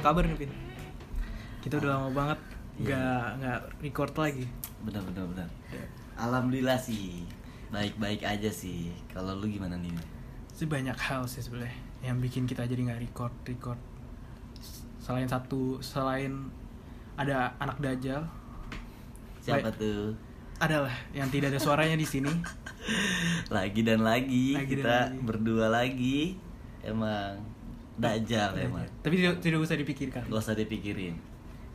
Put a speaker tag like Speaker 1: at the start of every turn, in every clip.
Speaker 1: kabar nih Pin? Kita udah lama banget
Speaker 2: Iya.
Speaker 1: nggak nggak record lagi.
Speaker 2: Benar benar benar. Alhamdulillah sih. Baik-baik aja sih. Kalau lu gimana nih? Wi?
Speaker 1: Sih banyak hal sih sebenarnya yang bikin kita jadi nggak record record. Selain satu selain ada anak dajal,
Speaker 2: Siapa
Speaker 1: Baik.
Speaker 2: tuh?
Speaker 1: adalah yang tidak ada suaranya di sini.
Speaker 2: Lagi dan lagi,
Speaker 1: Lagi dan
Speaker 2: kita
Speaker 1: lagi.
Speaker 2: berdua lagi. Emang dajal emang.
Speaker 1: Tapi tidak, tidak usah dipikirkan.
Speaker 2: Gak usah dipikirin.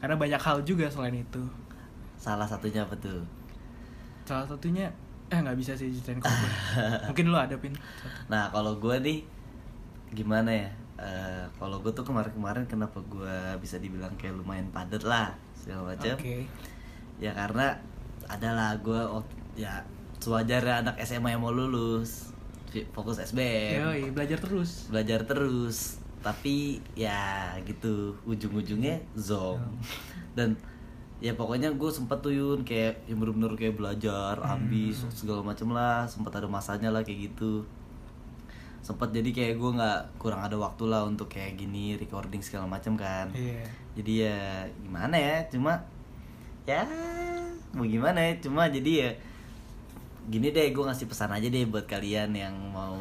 Speaker 1: Karena banyak hal juga selain itu.
Speaker 2: Salah satunya apa tuh?
Speaker 1: Salah satunya eh nggak bisa sih ceritain kalau gue. Mungkin lo ada Pin.
Speaker 2: Nah, kalau gue nih gimana ya? Eh, kalau gue tuh kemarin-kemarin kenapa gue bisa dibilang kayak lumayan padat lah
Speaker 1: Oke.
Speaker 2: segala macam. Ya karena adalah gue ya sewajarnya anak SMA yang mau lulus fi- fokus SBM
Speaker 1: Yoi, belajar terus.
Speaker 2: belajar terus tapi ya gitu ujung-ujungnya zong dan ya pokoknya gue sempet tuh Yun kayak yang bener-bener kayak belajar ambis segala macem lah sempet ada masanya lah kayak gitu sempet jadi kayak gue nggak kurang ada waktu lah untuk kayak gini recording segala macem kan
Speaker 1: Iya.
Speaker 2: jadi ya gimana ya cuma ya mau gimana ya cuma jadi ya gini deh gue ngasih pesan aja deh buat kalian yang mau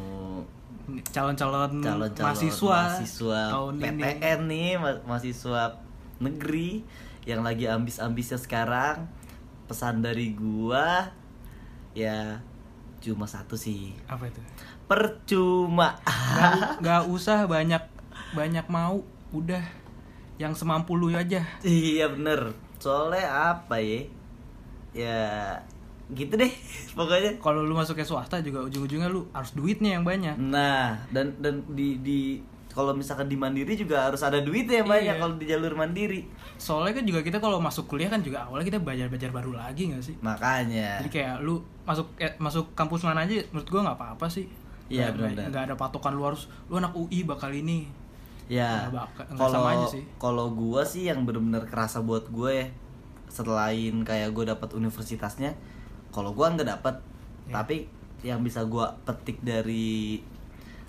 Speaker 1: calon-calon
Speaker 2: calon-calon
Speaker 1: Hmm, mahasiswa,
Speaker 2: mahasiswa
Speaker 1: tahun ini.
Speaker 2: PTN nih ma- mahasiswa negeri yang lagi ambis-ambisnya sekarang pesan dari gua ya cuma satu sih
Speaker 1: Apa itu?
Speaker 2: percuma
Speaker 1: Gak, gak usah banyak banyak mau, udah yang semampu lu aja.
Speaker 2: Iya bener Soalnya apa ya Ya gitu deh pokoknya
Speaker 1: Kalau lu masuk ke swasta juga ujung-ujungnya lu harus duitnya yang banyak.
Speaker 2: Nah dan dan di di kalau misalkan di mandiri juga harus ada duit ya banyak
Speaker 1: Iya.
Speaker 2: kalau di jalur mandiri
Speaker 1: Soalnya kan juga kita kalau masuk kuliah kan juga awalnya kita belajar-belajar baru lagi gak sih?
Speaker 2: makanya
Speaker 1: Jadi kayak lu masuk eh, masuk kampus mana aja menurut gua nggak apa-apa sih.
Speaker 2: Iya,
Speaker 1: Nggak-
Speaker 2: benar-benar.
Speaker 1: nggak ada patokan lu harus lu anak UI bakal ini.
Speaker 2: ya
Speaker 1: Nggak baka- nggak sama aja
Speaker 2: kalau
Speaker 1: sih.
Speaker 2: kalau gua sih yang bener-bener kerasa buat gue ya selain kayak gue dapat universitasnya kalau gua nggak dapat
Speaker 1: Iya.
Speaker 2: tapi yang bisa gua petik dari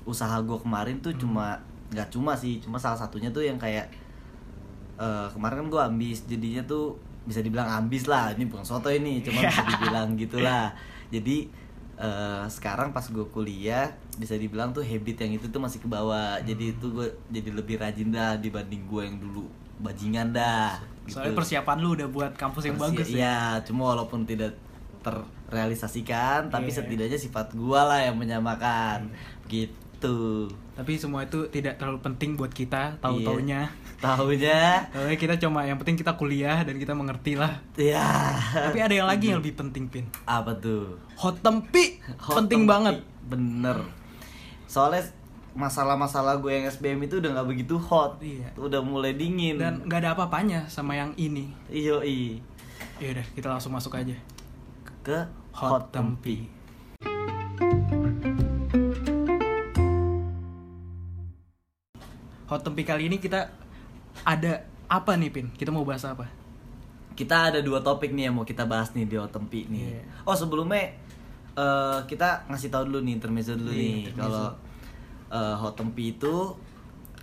Speaker 2: usaha gua kemarin tuh
Speaker 1: Hmm.
Speaker 2: cuma nggak cuma sih cuma salah satunya tuh yang kayak eh, kemarin kan gue ambis jadinya tuh bisa dibilang ambis lah ini bukan soto ini cuma bisa dibilang gitulah jadi eh, sekarang pas gue kuliah bisa dibilang tuh habit yang itu tuh masih ke bawah jadi
Speaker 1: Hmm.
Speaker 2: itu gue jadi lebih rajin dah dibanding gue yang dulu bajingan dah gitu.
Speaker 1: Soalnya persiapan lu udah buat kampus yang
Speaker 2: Persi-
Speaker 1: bagus ya.
Speaker 2: Iya, cuma walaupun tidak terrealisasikan tapi
Speaker 1: Iya.
Speaker 2: setidaknya sifat gua lah yang menyamakan gitu
Speaker 1: Tapi semua itu tidak terlalu penting buat kita tahu-taunya.
Speaker 2: tahunya
Speaker 1: Soalnya kita cuma yang penting kita kuliah dan kita mengerti lah.
Speaker 2: ya
Speaker 1: Tapi ada yang lagi yang lebih penting, Pin.
Speaker 2: apa tuh
Speaker 1: Hot tempi
Speaker 2: Hot
Speaker 1: penting
Speaker 2: tempi.
Speaker 1: banget.
Speaker 2: bener soalnya masalah-masalah gue yang SBM itu udah nggak begitu hot
Speaker 1: Iya.
Speaker 2: udah mulai dingin
Speaker 1: Dan nggak ada apa-apanya sama yang ini.
Speaker 2: iyo i
Speaker 1: Ya udah, kita langsung masuk aja.
Speaker 2: ke hot,
Speaker 1: Hot
Speaker 2: tempi.
Speaker 1: tempi. Hot tempi kali ini kita ada apa nih, Pin? Kita mau bahas apa?
Speaker 2: kita ada dua topik nih yang mau kita bahas nih di hot tempi nih
Speaker 1: Iya.
Speaker 2: oh sebelumnya eh, kita ngasih tahu dulu nih intermezzo
Speaker 1: Iya,
Speaker 2: dulu nih
Speaker 1: intermezzo.
Speaker 2: kalau eh, hot tempi itu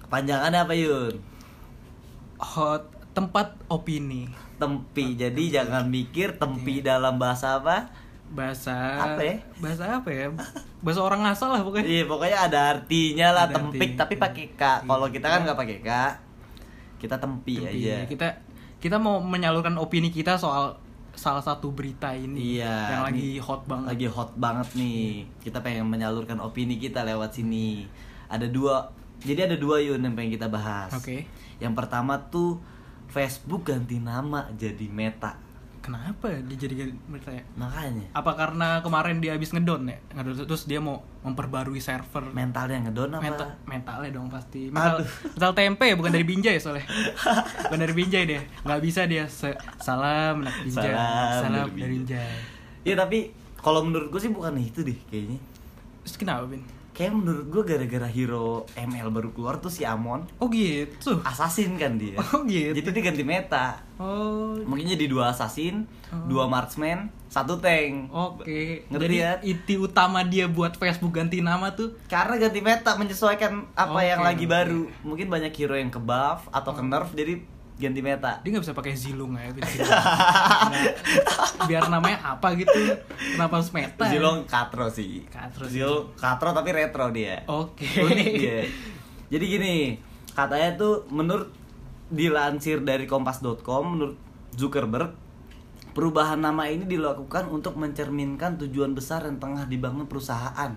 Speaker 2: kepanjangannya apa yun
Speaker 1: Hot tempat opini.
Speaker 2: tempi jadi jangan mikir tempi
Speaker 1: Iya.
Speaker 2: dalam bahasa apa
Speaker 1: Bahasa
Speaker 2: Apa ya?
Speaker 1: Bahasa apa ya? Bahasa orang asal lah pokoknya.
Speaker 2: Iya pokoknya ada artinya lah
Speaker 1: Ada
Speaker 2: tempik
Speaker 1: artinya.
Speaker 2: tapi pakai k. Kalau kita kan nggak pakai k, kita tempi,
Speaker 1: Tapi
Speaker 2: aja.
Speaker 1: Iya, kita kita mau menyalurkan opini kita soal salah satu berita ini
Speaker 2: Iya.
Speaker 1: yang lagi
Speaker 2: nih,
Speaker 1: hot banget. Iya.
Speaker 2: Lagi hot banget nih. Kita pengen menyalurkan opini kita lewat sini. Ada dua. Jadi ada dua Yun yang pengen kita bahas.
Speaker 1: Oke.
Speaker 2: Yang pertama tuh Facebook ganti nama jadi Meta.
Speaker 1: Kenapa dia jadi berita ya?
Speaker 2: Makanya
Speaker 1: Apa karena kemarin dia habis ngedon ya? Ngedon terus dia mau memperbarui server
Speaker 2: mentalnya ngedon apa?
Speaker 1: mental mentalnya dong pasti. Mental,
Speaker 2: Aduh.
Speaker 1: mental tempe bukan dari Binjai soalnya. bukan dari Binjai deh. nggak bisa dia se- salam anak Binjai.
Speaker 2: Salam
Speaker 1: Salam
Speaker 2: dari
Speaker 1: dari
Speaker 2: Binjai.
Speaker 1: Binjai.
Speaker 2: Iya tapi kalau menurut gue sih bukan itu deh kayaknya.
Speaker 1: Terus kenapa, Bin?
Speaker 2: kayak menurut gue gara-gara hero ML baru keluar tuh si Amon
Speaker 1: Oh gitu.
Speaker 2: assassin kan dia
Speaker 1: Oh, gitu.
Speaker 2: jadi dia ganti meta
Speaker 1: Oh.
Speaker 2: mungkin jadi dua assassin
Speaker 1: Oh.
Speaker 2: dua marksman satu tank
Speaker 1: Oke.
Speaker 2: Ngerti
Speaker 1: Jadi
Speaker 2: ya?
Speaker 1: inti utama dia buat Facebook ganti nama tuh
Speaker 2: karena ganti meta menyesuaikan apa
Speaker 1: Oh, Oke,
Speaker 2: yang lagi
Speaker 1: oke. Oh.
Speaker 2: baru mungkin banyak hero yang ke buff atau ke nerf jadi ganti meta
Speaker 1: dia nggak bisa pakai zilung ya Nah, biar namanya apa gitu kenapa harus meta ya?
Speaker 2: Zilong katro sih
Speaker 1: Katro sih.
Speaker 2: Zilong katro tapi retro dia
Speaker 1: oke
Speaker 2: unik dia jadi gini katanya tuh menurut dilansir dari kompas.com menurut Zuckerberg perubahan nama ini dilakukan untuk mencerminkan tujuan besar yang tengah dibangun perusahaan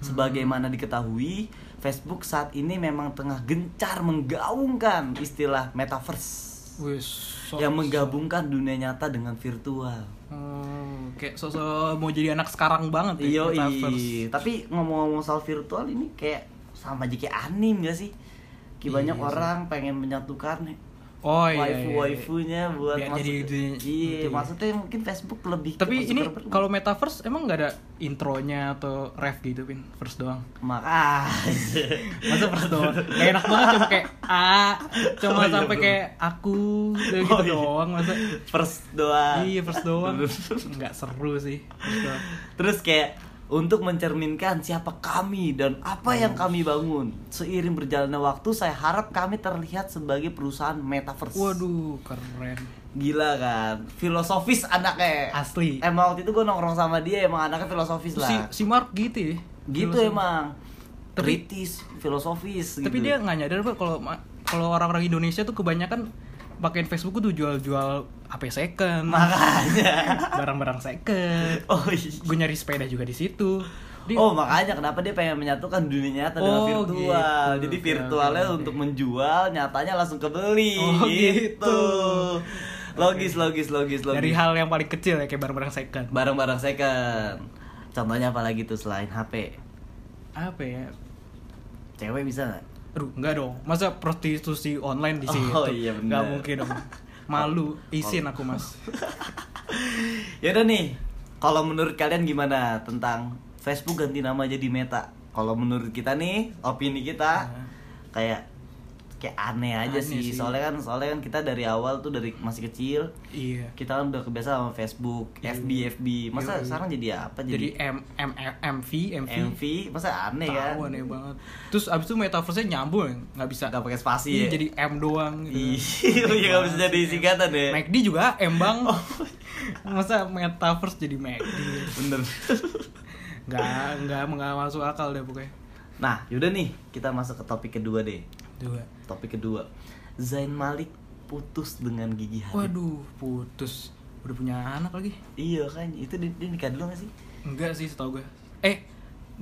Speaker 1: Hmm.
Speaker 2: sebagaimana diketahui Facebook saat ini memang tengah gencar menggaungkan istilah metaverse
Speaker 1: Wih, so-
Speaker 2: yang menggabungkan dunia nyata dengan virtual
Speaker 1: Oh, kayak sosok mau jadi anak sekarang banget ya,
Speaker 2: Iya,
Speaker 1: metaverse.
Speaker 2: tapi ngomong-ngomong soal virtual ini kayak sama aja kayak anim gak sih? Kayak
Speaker 1: Iya
Speaker 2: banyak
Speaker 1: sih.
Speaker 2: orang pengen menyatukan
Speaker 1: oh iya, iya,
Speaker 2: waifu
Speaker 1: iya.
Speaker 2: waifunya buat
Speaker 1: Biar
Speaker 2: masuk-
Speaker 1: jadi dunia-
Speaker 2: iya,
Speaker 1: gitu ya.
Speaker 2: maksudnya mungkin Facebook lebih ke
Speaker 1: tapi
Speaker 2: Mark
Speaker 1: ini
Speaker 2: Zuckerberg.
Speaker 1: kalau metaverse emang nggak ada intronya atau ref gitu pin first doang
Speaker 2: maka
Speaker 1: masa first doang gak enak banget cuma kayak a cuma
Speaker 2: Oh iya,
Speaker 1: sampai
Speaker 2: belum.
Speaker 1: kayak aku gitu
Speaker 2: Oh iya.
Speaker 1: doang masa
Speaker 2: first doang.
Speaker 1: iya first doang
Speaker 2: Bener.
Speaker 1: nggak seru sih first doang
Speaker 2: Terus kayak untuk mencerminkan siapa kami dan apa yang
Speaker 1: Oh.
Speaker 2: kami bangun. Seiring berjalannya waktu, saya harap kami terlihat sebagai perusahaan metaverse.
Speaker 1: waduh keren
Speaker 2: Gila kan, filosofis anaknya.
Speaker 1: Asli.
Speaker 2: Emang waktu itu gue nongkrong sama dia emang anaknya filosofis
Speaker 1: si
Speaker 2: lah.
Speaker 1: si Mark gitu ya
Speaker 2: gitu
Speaker 1: Filosofi.
Speaker 2: emang.
Speaker 1: Tapi-
Speaker 2: Kritis, filosofis
Speaker 1: tapi
Speaker 2: gitu.
Speaker 1: dia nggak nyadar pak kalau ma- kalau orang-orang Indonesia tuh kebanyakan pakein Facebook tuh jual-jual HP second
Speaker 2: makanya.
Speaker 1: barang-barang second
Speaker 2: Oh, iya.
Speaker 1: gue nyari sepeda juga di situ Di-
Speaker 2: oh makanya kenapa dia pengen menyatukan dunia nyata dengan
Speaker 1: Oh,
Speaker 2: virtual.
Speaker 1: gitu.
Speaker 2: Jadi
Speaker 1: Oke,
Speaker 2: virtualnya
Speaker 1: oke, oke.
Speaker 2: untuk menjual, nyatanya langsung kebeli
Speaker 1: Oh, gitu.
Speaker 2: gitu. Logis, logis, logis, logis.
Speaker 1: dari hal yang paling kecil ya kayak barang-barang second
Speaker 2: Barang-barang second. Contohnya apa lagi tuh selain HP?
Speaker 1: apa ya
Speaker 2: Cewek bisa nggak?
Speaker 1: aduh enggak dong masa prostitusi online di
Speaker 2: Oh,
Speaker 1: situ
Speaker 2: iya bener.
Speaker 1: nggak mungkin dong malu izin aku mas
Speaker 2: Yaudah Ya nih, kalau menurut kalian gimana tentang Facebook ganti nama jadi Meta? Kalau menurut kita nih, opini kita
Speaker 1: Nah.
Speaker 2: kayak kayak aneh
Speaker 1: Aneh
Speaker 2: aja
Speaker 1: sih.
Speaker 2: sih. Soalnya kan soalnya kan kita dari awal tuh dari masih kecil
Speaker 1: iya
Speaker 2: kita kan udah kebiasa sama Facebook,
Speaker 1: Iya.
Speaker 2: FB, FB. Masa
Speaker 1: Iya.
Speaker 2: sekarang jadi apa?
Speaker 1: jadi
Speaker 2: Jadi,
Speaker 1: M M MV MV,
Speaker 2: MV, masa aneh kan?
Speaker 1: Tahu, aneh banget terus abis itu metaverse-nya nyambung ya? nggak bisa
Speaker 2: Gak pakai spasi
Speaker 1: Iya,
Speaker 2: ya.
Speaker 1: jadi M doang
Speaker 2: Ih,
Speaker 1: gitu.
Speaker 2: iya, nggak bisa jadi singkatan ya. Oh.
Speaker 1: MACD juga M bang. Masa metaverse jadi MACD?
Speaker 2: bener.
Speaker 1: Nggak, nggak, nggak masuk akal deh pokoknya.
Speaker 2: nah, yaudah nih, kita masuk ke topik kedua deh.
Speaker 1: Dua.
Speaker 2: Topik kedua. Zain Malik putus dengan Gigi Hadid.
Speaker 1: Waduh, putus. Udah punya anak lagi?
Speaker 2: Iya kan, itu dia, dia nikah dulu gak sih?
Speaker 1: Enggak sih, setahu gue. Eh,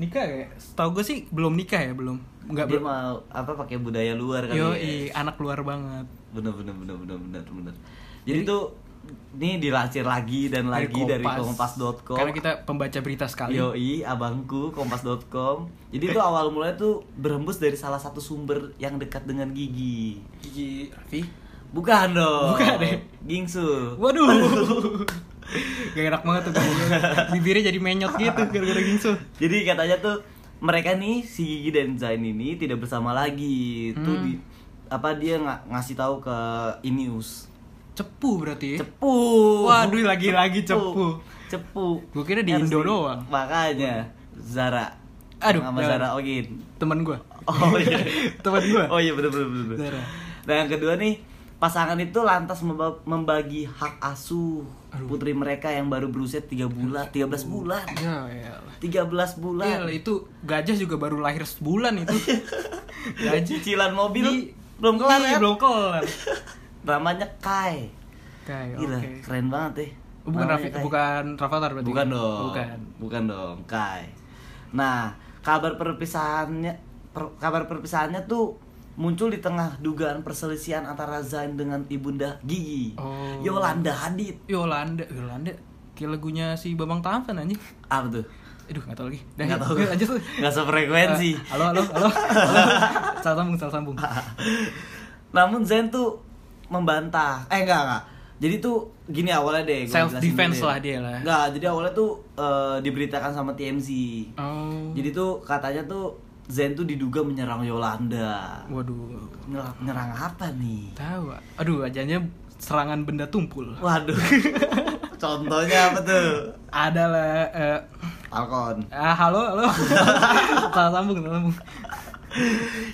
Speaker 1: nikah ya? Setahu gue sih belum nikah ya, belum. Enggak
Speaker 2: dia
Speaker 1: belum.
Speaker 2: mau apa pakai budaya luar kali
Speaker 1: Yo,
Speaker 2: ya.
Speaker 1: anak luar banget.
Speaker 2: Bener bener bener bener bener bener. Jadi, tuh ini dilansir lagi dan lagi dari kompas.com.
Speaker 1: Karena kita pembaca berita sekali.
Speaker 2: Yoi, abangku kompas.com. Jadi itu awal mulanya tuh berhembus dari salah satu sumber yang dekat dengan gigi.
Speaker 1: Gigi Raffi.
Speaker 2: Bukan dong.
Speaker 1: Bukan deh.
Speaker 2: Gingsu.
Speaker 1: Waduh. Gak enak banget tuh Bibirnya jadi menyot gitu gara-gara gingsul.
Speaker 2: Jadi katanya tuh mereka nih si Gigi dan Zain ini tidak bersama lagi. Tuh
Speaker 1: Hmm.
Speaker 2: di apa dia nga- ngasih tahu ke Inews.
Speaker 1: Cepu berarti. ya?
Speaker 2: Cepu.
Speaker 1: Waduh, lagi-lagi cepu.
Speaker 2: Cepu.
Speaker 1: Gua kira di
Speaker 2: Harus
Speaker 1: Indo
Speaker 2: di-
Speaker 1: doang.
Speaker 2: Makanya Zara.
Speaker 1: Aduh,
Speaker 2: Nama
Speaker 1: jangan.
Speaker 2: Zara Ogin.
Speaker 1: Temen gua.
Speaker 2: Oh iya.
Speaker 1: Temen gua.
Speaker 2: Oh iya betul betul betul.
Speaker 1: Zara.
Speaker 2: Nah, yang kedua nih, pasangan itu lantas memba- membagi hak asuh
Speaker 1: Aduh.
Speaker 2: putri mereka yang baru berusia 3 bulan, 13 bulan.
Speaker 1: Ya, elah.
Speaker 2: 13 bulan.
Speaker 1: Ya, itu gajah juga baru lahir sebulan itu. gajah
Speaker 2: Cicilan mobil
Speaker 1: Di-
Speaker 2: belum kelar
Speaker 1: Ih,
Speaker 2: ya?
Speaker 1: Belum kelar.
Speaker 2: Namanya Kai.
Speaker 1: Kayak oke.
Speaker 2: Gila, keren banget deh.
Speaker 1: Bukan
Speaker 2: Namanya
Speaker 1: Raffi,
Speaker 2: Kai.
Speaker 1: bukan Rafathar berarti.
Speaker 2: Oh, iya,
Speaker 1: ya?
Speaker 2: Bukan dong.
Speaker 1: Bukan.
Speaker 2: Bukan dong, Kai. Nah, kabar perpisahannya per- kabar perpisahannya tuh muncul di tengah dugaan perselisihan antara Zain dengan ibunda Gigi.
Speaker 1: Oh.
Speaker 2: Yolanda Hadid.
Speaker 1: Yolanda, Yolanda kayak lagunya si Bambang Tampan anjing.
Speaker 2: Apa tuh?
Speaker 1: Aduh, enggak tahu lagi. Dah, ya.
Speaker 2: Enggak tahu.
Speaker 1: yuk, Nah, lanjut.
Speaker 2: Enggak sefrekuensi.
Speaker 1: Eh, halo, halo, halo. salah sambung, salah sambung.
Speaker 2: Namun Zen tuh membantah. Eh enggak enggak. Jadi tuh gini awalnya deh. gua
Speaker 1: Self
Speaker 2: jelasin
Speaker 1: defense
Speaker 2: dulu ya.
Speaker 1: lah dia lah.
Speaker 2: Nggak, jadi awalnya tuh eh, diberitakan sama TMZ.
Speaker 1: Oh.
Speaker 2: Jadi tuh katanya tuh Zen tuh diduga menyerang Yolanda.
Speaker 1: waduh.
Speaker 2: Menyerang, menyerang apa nih?
Speaker 1: Tahu. ah. Aduh, ajanya serangan benda tumpul.
Speaker 2: Waduh. Contohnya apa tuh?
Speaker 1: Ada lah eh,
Speaker 2: Falcon.
Speaker 1: ah, halo, halo. salah sambung, salah sambung.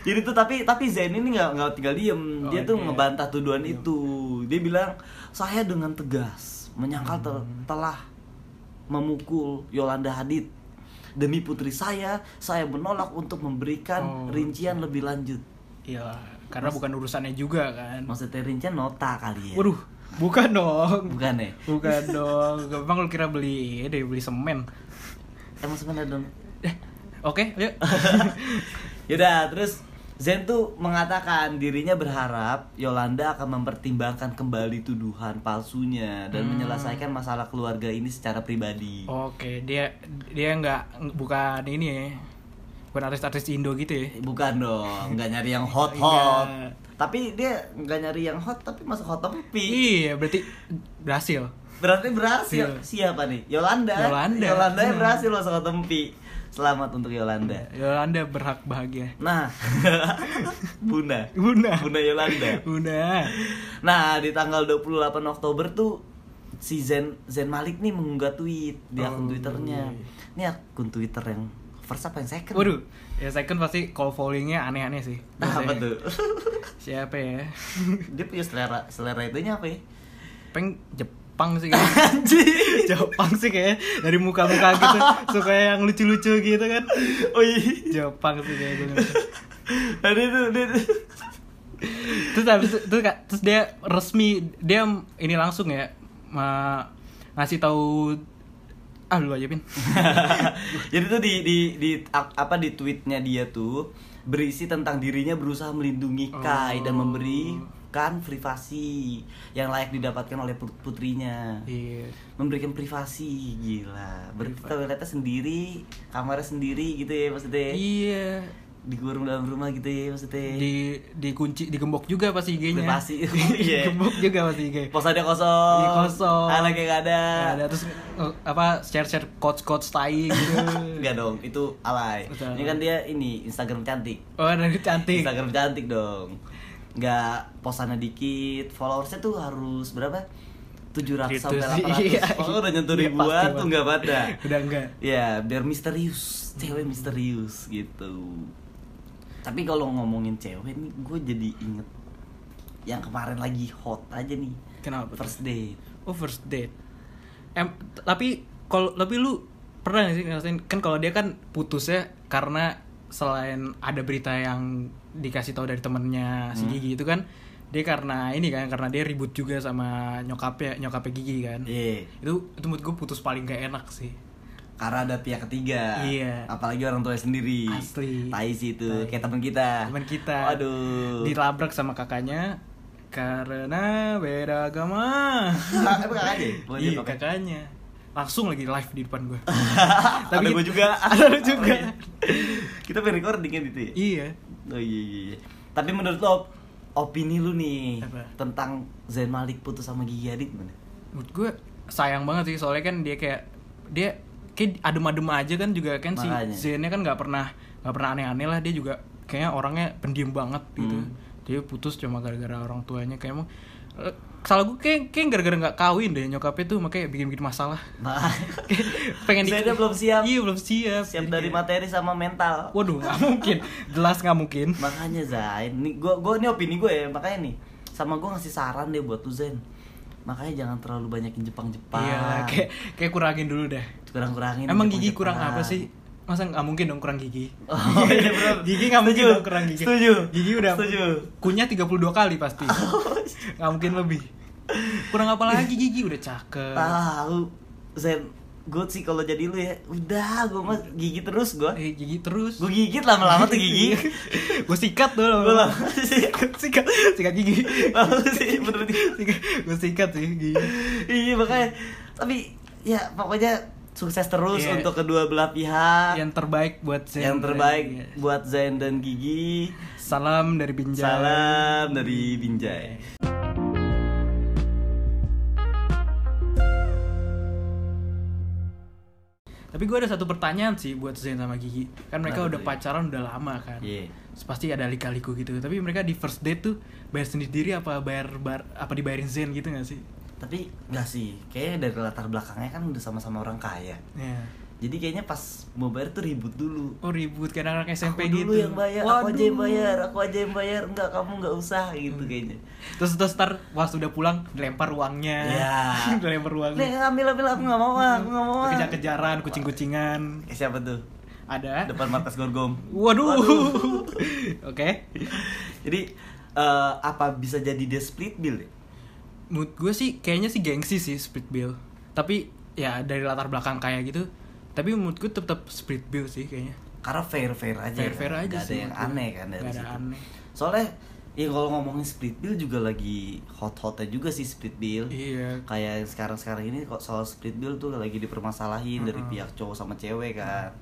Speaker 2: Jadi tuh tapi tapi Zen ini nggak nggak tinggal diem.
Speaker 1: Oh, Iya,
Speaker 2: dia tuh
Speaker 1: dia-
Speaker 2: ngebantah tuduhan itu. Dia bilang saya dengan tegas menyangkal tel-
Speaker 1: Hmm.
Speaker 2: telah memukul Yolanda Hadid. Demi putri saya, saya menolak untuk memberikan
Speaker 1: Oh.
Speaker 2: rincian lebih lanjut.
Speaker 1: Iya, karena bukan urusannya juga kan.
Speaker 2: Maksudnya rincian nota kali ya.
Speaker 1: Waduh, bukan dong.
Speaker 2: Bukan ya?
Speaker 1: Bukan dong. Emang lu kira beli deh beli semen.
Speaker 2: Emang sebenarnya dong.
Speaker 1: Eh, Oke, yuk.
Speaker 2: Yaudah, terus Zen tuh mengatakan dirinya berharap Yolanda akan mempertimbangkan kembali tuduhan palsunya dan
Speaker 1: Hmm.
Speaker 2: menyelesaikan masalah keluarga ini secara pribadi.
Speaker 1: Oke, dia dia nggak bukan ini ya. Bukan artis-artis Indo gitu ya.
Speaker 2: Bukan dong, nggak nyari yang hot hot.
Speaker 1: Iya.
Speaker 2: Tapi dia nggak nyari yang hot, tapi masuk hot topic.
Speaker 1: Iya, berarti berhasil.
Speaker 2: Berarti berhasil.
Speaker 1: Iya.
Speaker 2: Siapa nih? Yolanda.
Speaker 1: Yolanda.
Speaker 2: yang
Speaker 1: Hmm.
Speaker 2: berhasil masuk hot topic. Selamat untuk Yolanda.
Speaker 1: Yolanda Ya, berhak bahagia.
Speaker 2: Nah, Bunda.
Speaker 1: Bunda.
Speaker 2: Bunda Yolanda.
Speaker 1: Bunda.
Speaker 2: Nah, di tanggal 28 Oktober tuh si Zen Zen Malik nih mengunggah tweet di akun
Speaker 1: Oh,
Speaker 2: Twitternya.
Speaker 1: iya.
Speaker 2: Ini akun Twitter yang first apa yang second?
Speaker 1: Waduh, ya second pasti call fallingnya aneh-aneh sih.
Speaker 2: Nah, apa tuh?
Speaker 1: Siapa ya?
Speaker 2: Dia punya selera selera itunya apa ya?
Speaker 1: Peng Jepang sih kayaknya.
Speaker 2: Anjing.
Speaker 1: Jepang sih kayaknya dari muka-muka gitu suka yang lucu-lucu gitu kan
Speaker 2: Oh iya.
Speaker 1: Jepang sih kayak gitu
Speaker 2: Tadi tuh dia tuh-
Speaker 1: terus habis itu- terus, ka- terus dia resmi dia m- ini langsung ya ma- ngasih tahu ah lu aja pin
Speaker 2: Jadi tuh di di di a- apa di tweetnya dia tuh berisi tentang dirinya berusaha melindungi Kai dan
Speaker 1: Oh.
Speaker 2: memberikan privasi yang layak didapatkan oleh put- putrinya.
Speaker 1: iya
Speaker 2: memberikan privasi gila berarti toiletnya sendiri kamarnya sendiri gitu ya maksudnya
Speaker 1: iya
Speaker 2: digurung dalam rumah gitu ya maksudnya
Speaker 1: di dikunci digembok juga pasti IG-nya
Speaker 2: privasi iya
Speaker 1: digembok juga pasti IG
Speaker 2: pos ada kosong
Speaker 1: Iya, kosong.
Speaker 2: ah, lagi nggak ada
Speaker 1: Nah, ada terus eh, apa share share coach coach tai gitu
Speaker 2: nggak dong itu alay
Speaker 1: Betul.
Speaker 2: ini kan dia ini Instagram cantik
Speaker 1: oh dan cantik
Speaker 2: Instagram cantik dong nggak posannya dikit followersnya tuh harus berapa 700 sampai
Speaker 1: Gitu sih,
Speaker 2: 800
Speaker 1: iya.
Speaker 2: oh udah nyentuh
Speaker 1: Iya,
Speaker 2: ribuan
Speaker 1: pasti,
Speaker 2: tuh
Speaker 1: Bang.
Speaker 2: nggak pada
Speaker 1: udah enggak
Speaker 2: Ya, biar misterius, cewek misterius gitu. Tapi kalau ngomongin cewek nih, gue jadi inget yang kemarin lagi hot aja nih,
Speaker 1: kenapa tuh?
Speaker 2: first date.
Speaker 1: Oh first date. Em, t- tapi kalau tapi lu pernah gak sih ngerasain kan kalau dia kan putusnya karena selain ada berita yang dikasih tahu dari temennya si Gigi itu kan dia karena ini kan karena dia ribut juga sama nyokapnya nyokapnya Gigi kan
Speaker 2: Iya,
Speaker 1: itu itu menurut gue putus paling gak enak sih
Speaker 2: karena ada pihak ketiga.
Speaker 1: Iya.
Speaker 2: Apalagi orang tua sendiri.
Speaker 1: Asli.
Speaker 2: Tai sih itu,
Speaker 1: Tai.
Speaker 2: kayak teman kita.
Speaker 1: teman kita
Speaker 2: Aduh.
Speaker 1: dilabrak sama kakaknya karena beda agama
Speaker 2: Apa kakaknya? Bukan
Speaker 1: iya
Speaker 2: dia kakak.
Speaker 1: kakaknya langsung lagi live di depan gue
Speaker 2: Ada
Speaker 1: Tapi-
Speaker 2: gue juga. Oh, iya.
Speaker 1: Ada lu juga.
Speaker 2: Kita pre-recording gitu ya?
Speaker 1: iya
Speaker 2: Oh iya, iya, iya. Tapi menurut lo opini lu nih
Speaker 1: Apa?
Speaker 2: tentang Zain Malik putus sama Gigi Hadid mana?
Speaker 1: menurut gue sayang banget sih soalnya kan dia kayak dia kayak adem-adem aja kan juga kan si
Speaker 2: Makanya.
Speaker 1: Zainnya kan nggak pernah nggak pernah aneh-aneh lah dia juga kayaknya orangnya pendiam banget gitu
Speaker 2: Hmm.
Speaker 1: dia putus cuma gara-gara orang tuanya kayak emang eh, salah gue kayak kayak gara-gara nggak kawin deh nyokapnya tuh makanya bikin-bikin masalah
Speaker 2: Nah,
Speaker 1: Kayak pengen di-
Speaker 2: Zainnya belum siap.
Speaker 1: iya belum siap
Speaker 2: siap
Speaker 1: Jadi
Speaker 2: dari
Speaker 1: kayak,
Speaker 2: materi sama mental.
Speaker 1: waduh nggak mungkin jelas nggak mungkin
Speaker 2: Makanya Zain, nih gua gua ini opini gue ya, makanya nih sama gua ngasih saran deh buat lu Zain. Makanya jangan terlalu banyakin Jepang-Jepang.
Speaker 1: iya kayak kayak kurangin dulu deh
Speaker 2: kurang-kurangin.
Speaker 1: emang gigi kurang apa
Speaker 2: Jepang-Jepang.
Speaker 1: sih masa nggak mungkin dong kurang gigi
Speaker 2: Oh, iya, bro.
Speaker 1: gigi nggak mungkin
Speaker 2: Setuju.
Speaker 1: dong kurang gigi
Speaker 2: Setuju.
Speaker 1: gigi udah
Speaker 2: Setuju. Oh,
Speaker 1: kunyah 32 kali pasti nggak mungkin lebih kurang apa lagi gigi udah cakep
Speaker 2: Tahu Zain, gue sih kalau jadi lu ya udah gue mah gigi terus gua.
Speaker 1: eh gigi terus
Speaker 2: Gue gigit lama-lama tuh gigi.
Speaker 1: gue sikat tuh
Speaker 2: Gue
Speaker 1: lama
Speaker 2: lama sih.
Speaker 1: sikat sikat gigi
Speaker 2: Lama sih bener nih.
Speaker 1: gue sikat sih gigi
Speaker 2: Iya makanya tapi ya pokoknya sukses terus
Speaker 1: Iya.
Speaker 2: untuk kedua belah pihak.
Speaker 1: yang terbaik buat Zen
Speaker 2: yang terbaik
Speaker 1: Iya.
Speaker 2: buat Zain dan Gigi.
Speaker 1: salam dari Binjai
Speaker 2: Salam dari Binjai.
Speaker 1: Tapi gue ada satu pertanyaan sih buat Zain sama Gigi. Kan mereka
Speaker 2: Kenapa
Speaker 1: udah
Speaker 2: tuh, Zain?
Speaker 1: pacaran udah lama kan.
Speaker 2: Iya.
Speaker 1: Terus Pasti ada lika-liku gitu. Tapi mereka di first date tuh bayar sendiri apa bayar bar, apa dibayarin Zain gitu gak sih?
Speaker 2: Tapi nggak sih, kayaknya dari latar belakangnya kan udah sama-sama orang kaya.
Speaker 1: Ya.
Speaker 2: Jadi kayaknya pas mau bayar tuh ribut dulu.
Speaker 1: Oh ribut kayak anak SMP
Speaker 2: aku
Speaker 1: gitu.
Speaker 2: dulu yang bayar, aku aja yang bayar, aku aja yang bayar, enggak kamu nggak usah gitu
Speaker 1: Hmm.
Speaker 2: kayaknya.
Speaker 1: Terus terus ntar pas udah pulang dilempar uangnya.
Speaker 2: Ya.
Speaker 1: dilempar
Speaker 2: Nih
Speaker 1: uangnya.
Speaker 2: ambil ambil aku nggak mau ah, aku nggak mau ah.
Speaker 1: Kejar-kejaran, kucing-kucingan.
Speaker 2: Eh, siapa tuh?
Speaker 1: Ada.
Speaker 2: Depan markas Gorgom.
Speaker 1: Waduh. Oke.
Speaker 2: Jadi eh, apa bisa jadi dia split bill? ya?
Speaker 1: Menurut gue sih kayaknya sih gengsi sih split bill. Tapi ya dari latar belakang kayak gitu. Tapi menurut gue tetap split bill sih kayaknya.
Speaker 2: Karena fair fair aja.
Speaker 1: Fair-fair
Speaker 2: kan?
Speaker 1: aja
Speaker 2: Nggak
Speaker 1: sih
Speaker 2: ada yang
Speaker 1: menurut gue.
Speaker 2: aneh kan dari
Speaker 1: Nggak ada
Speaker 2: situ.
Speaker 1: aneh.
Speaker 2: Soalnya ya kalau ngomongin split bill juga lagi hot-hotnya juga sih split bill.
Speaker 1: Iya.
Speaker 2: Kayak yang sekarang-sekarang ini kok soal split bill tuh lagi dipermasalahin dari pihak cowok sama cewek kan.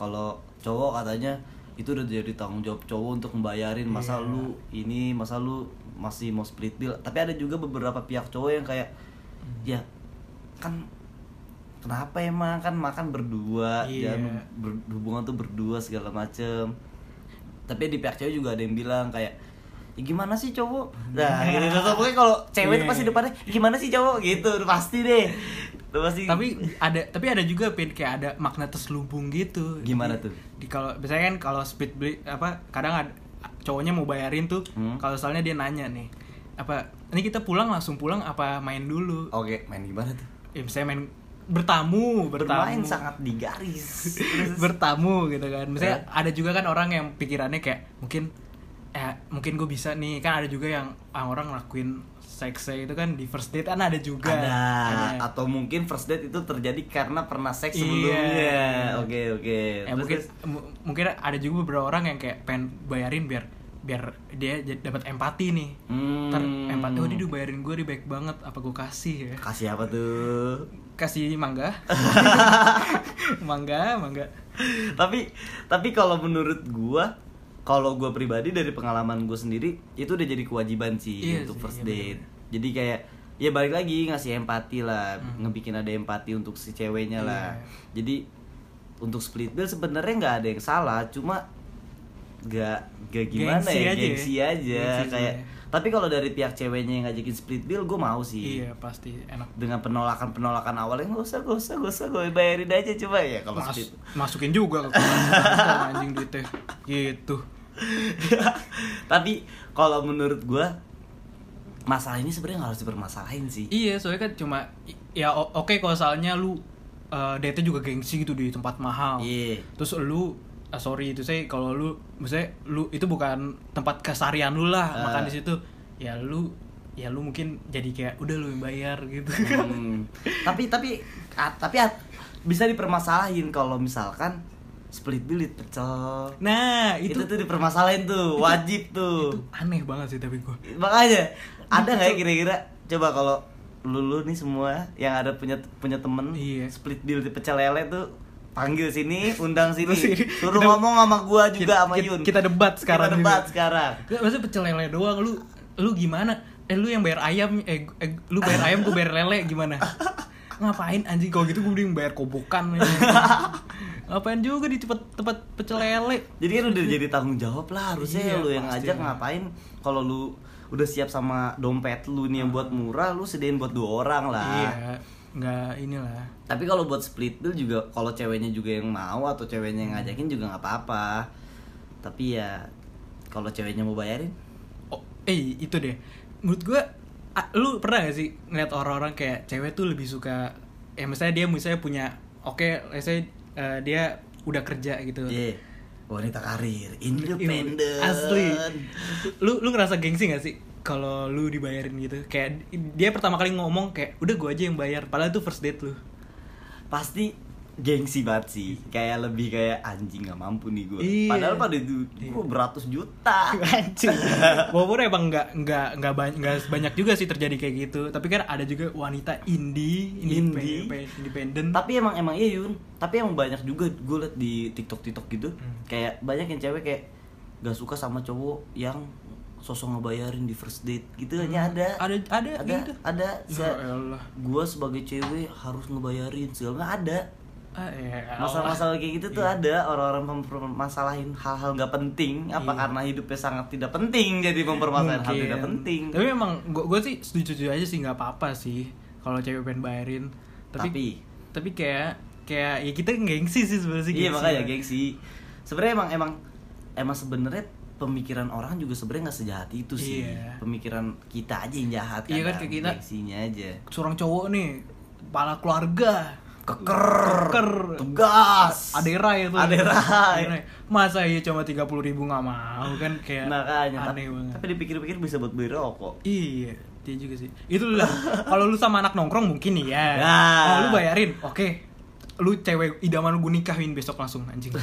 Speaker 2: Kalau cowok katanya itu udah jadi tanggung jawab cowok untuk membayarin masa
Speaker 1: Iya.
Speaker 2: lu ini masa lu masih mau split bill. Tapi ada juga beberapa pihak cowok yang kayak
Speaker 1: Mm.
Speaker 2: ya kan kenapa emang kan makan berdua
Speaker 1: Iya.
Speaker 2: jangan ber- hubungan tuh berdua segala macem tapi di pihak cewek juga ada yang bilang kayak "Ya gimana sih cowok nah gitu Terus pokoknya kalau cewek tuh
Speaker 1: Mm. Iya.
Speaker 2: pasti depannya "Ya gimana sih cowok gitu udah pasti deh Udah pasti
Speaker 1: tapi ada tapi ada juga pin kayak ada makna terselubung gitu
Speaker 2: Gimana
Speaker 1: Di-
Speaker 2: tuh?
Speaker 1: di kalau biasanya kan kalau speed beli apa kadang ada, cowoknya mau bayarin tuh
Speaker 2: Hmm.
Speaker 1: kalau soalnya dia nanya nih apa ini kita pulang langsung pulang apa main dulu
Speaker 2: oke main gimana tuh
Speaker 1: ya misalnya main bertamu bertamu
Speaker 2: bermain sangat digaris Terus-
Speaker 1: bertamu gitu kan misalnya
Speaker 2: Eh.
Speaker 1: ada juga kan orang yang pikirannya kayak mungkin eh mungkin gue bisa nih kan ada juga yang ah, orang ngelakuin seksnya itu kan di first date kan ada juga
Speaker 2: ada
Speaker 1: Ada.
Speaker 2: atau mungkin first date itu terjadi karena pernah seks
Speaker 1: Iya.
Speaker 2: sebelumnya oke oke
Speaker 1: ya,
Speaker 2: Terus-
Speaker 1: mungkin mu- mungkin ada juga beberapa orang yang kayak pengen bayarin biar biar dia j- dapat empati nih
Speaker 2: Hmm.
Speaker 1: ter empati oh dia udah bayarin gue dia baik banget apa gue kasih ya
Speaker 2: kasih apa tuh
Speaker 1: kasih mangga mangga mangga
Speaker 2: tapi tapi kalau menurut gua kalau gua pribadi dari pengalaman gua sendiri itu udah jadi kewajiban sih
Speaker 1: Iya
Speaker 2: untuk
Speaker 1: sih,
Speaker 2: first
Speaker 1: iya
Speaker 2: date jadi kayak ya balik lagi ngasih empati lah ngebikin ada empati untuk si ceweknya
Speaker 1: Hmm. Iya.
Speaker 2: lah jadi untuk split bill sebenarnya nggak ada yang salah cuma nggak nggak gimana
Speaker 1: Gengsi
Speaker 2: ya
Speaker 1: aja ya.
Speaker 2: gengsi aja
Speaker 1: Gengsi
Speaker 2: kayak
Speaker 1: aja. ya.
Speaker 2: tapi kalau dari pihak ceweknya yang ngajakin split bill gua mau sih
Speaker 1: iya pasti enak
Speaker 2: dengan penolakan penolakan awalnya nggak usah nggak usah nggak usah gue bayarin aja coba ya kalau
Speaker 1: Mas-
Speaker 2: split
Speaker 1: masukin juga ke kantong, anjing duitnya gitu
Speaker 2: Tapi kalau menurut gua masalah ini sebenarnya nggak harus dipermasalahin sih.
Speaker 1: Iya, soalnya kan cuma i- ya o- oke kalau soalnya lu eh date juga gengsi gitu di tempat mahal.
Speaker 2: Iya.
Speaker 1: Terus lu ah, sorry itu saya kalau lu maksudnya lu itu bukan tempat kesarian lu lah
Speaker 2: Ah.
Speaker 1: makan di situ. Ya lu ya lu mungkin jadi kayak udah lu yang bayar gitu.
Speaker 2: Hmm. tapi tapi ah, tapi ah, bisa dipermasalahin kalau misalkan split bill pecel.
Speaker 1: Nah,
Speaker 2: Itu,
Speaker 1: itu
Speaker 2: tuh dipermasalahin tuh, wajib tuh.
Speaker 1: itu aneh banget sih tapi gua.
Speaker 2: Makanya ada nggak ya kira-kira coba kalau lulu nih semua yang ada punya punya temen
Speaker 1: Iya.
Speaker 2: split bill di pecel lele tuh panggil sini, undang sini,
Speaker 1: Terus ini,
Speaker 2: suruh
Speaker 1: kita-
Speaker 2: ngomong sama gua juga
Speaker 1: kita-
Speaker 2: sama
Speaker 1: kita-
Speaker 2: Yun.
Speaker 1: kita debat sekarang
Speaker 2: Kita
Speaker 1: juga.
Speaker 2: debat sekarang.
Speaker 1: Gak, maksudnya pecel lele doang lu lu gimana? Eh lu yang bayar ayam, eh, gu- eh, lu bayar ayam, gue bayar lele gimana? Ngapain anjing kalau gitu gue mending bayar kobokan. ya. Ngapain juga di tempat tempat pecel lele?
Speaker 2: Jadi kan udah jadi tanggung jawab lah harusnya
Speaker 1: Iya,
Speaker 2: lu yang
Speaker 1: pasti
Speaker 2: ngajak
Speaker 1: lah.
Speaker 2: ngapain kalau lu udah siap sama dompet lu nih yang buat murah lu sediain buat dua orang lah.
Speaker 1: Iya, nggak inilah.
Speaker 2: Tapi kalau buat split bill juga kalau ceweknya juga yang mau atau ceweknya yang ngajakin juga nggak apa-apa. Tapi ya kalau ceweknya mau bayarin
Speaker 1: Oh, eh itu deh. Menurut gue, lu pernah gak sih ngeliat orang-orang kayak cewek tuh lebih suka, ya misalnya dia misalnya punya, oke, misalnya eh, dia udah kerja gitu.
Speaker 2: Ye. Wanita karir, independen.
Speaker 1: Iya, Asli. Lu lu ngerasa gengsi gak sih kalau lu dibayarin gitu? Kayak dia pertama kali ngomong kayak udah gua aja yang bayar. Padahal itu first date lu.
Speaker 2: Pasti gengsi banget sih kayak lebih kayak anjing nggak mampu nih gue
Speaker 1: Iya.
Speaker 2: padahal pada itu gue beratus juta
Speaker 1: Anjing. Walaupun emang nggak nggak nggak banyak banyak juga sih terjadi kayak gitu. Tapi kan ada juga wanita indie,
Speaker 2: Indie.
Speaker 1: indie, independen.
Speaker 2: tapi emang emang iya Yun tapi emang banyak juga gue liat di TikTok TikTok gitu
Speaker 1: Hmm.
Speaker 2: kayak banyak yang cewek kayak gak suka sama cowok yang sosok ngebayarin di first date gitu hanya ada
Speaker 1: Hmm. Ada ada
Speaker 2: ada
Speaker 1: gitu.
Speaker 2: ada
Speaker 1: Ya Allah.
Speaker 2: gue sebagai cewek harus ngebayarin segala macam. ada
Speaker 1: Ah, ya Allah.
Speaker 2: masalah-masalah kayak gitu tuh
Speaker 1: Iya.
Speaker 2: ada orang-orang mempermasalahin hal-hal nggak penting apa
Speaker 1: Iya.
Speaker 2: karena hidupnya sangat tidak penting jadi mempermasalahin hal
Speaker 1: Mungkin.
Speaker 2: tidak penting
Speaker 1: tapi emang gue gue sih setuju setuju aja sih nggak apa apa sih kalau cewek pengen bayarin tapi tapi,
Speaker 2: Tapi-
Speaker 1: kayak kayak ya kita gengsi sih sebenarnya sih
Speaker 2: iya
Speaker 1: gengsi kan.
Speaker 2: makanya
Speaker 1: banget.
Speaker 2: gengsi sebenarnya emang emang emang sebenarnya pemikiran orang juga sebenarnya nggak sejahat itu sih
Speaker 1: Iya.
Speaker 2: pemikiran kita aja yang jahat
Speaker 1: Iya kan,
Speaker 2: kadang,
Speaker 1: kayak kita-
Speaker 2: gengsinya aja
Speaker 1: seorang cowok nih kepala keluarga
Speaker 2: keker
Speaker 1: Keker.
Speaker 2: tugas
Speaker 1: adera ya tuh
Speaker 2: Aderai.
Speaker 1: Aderai. masa iya cuma tiga puluh ribu nggak mau kan kayak
Speaker 2: makanya
Speaker 1: aneh
Speaker 2: tapi,
Speaker 1: banget
Speaker 2: tapi dipikir-pikir bisa buat beli rokok
Speaker 1: Iya, dia juga sih. Itu lah. Kalau lu sama anak nongkrong mungkin iya.
Speaker 2: Ya.
Speaker 1: Kalau lu bayarin, oke. Lu cewek idaman gue nikahin besok langsung anjing.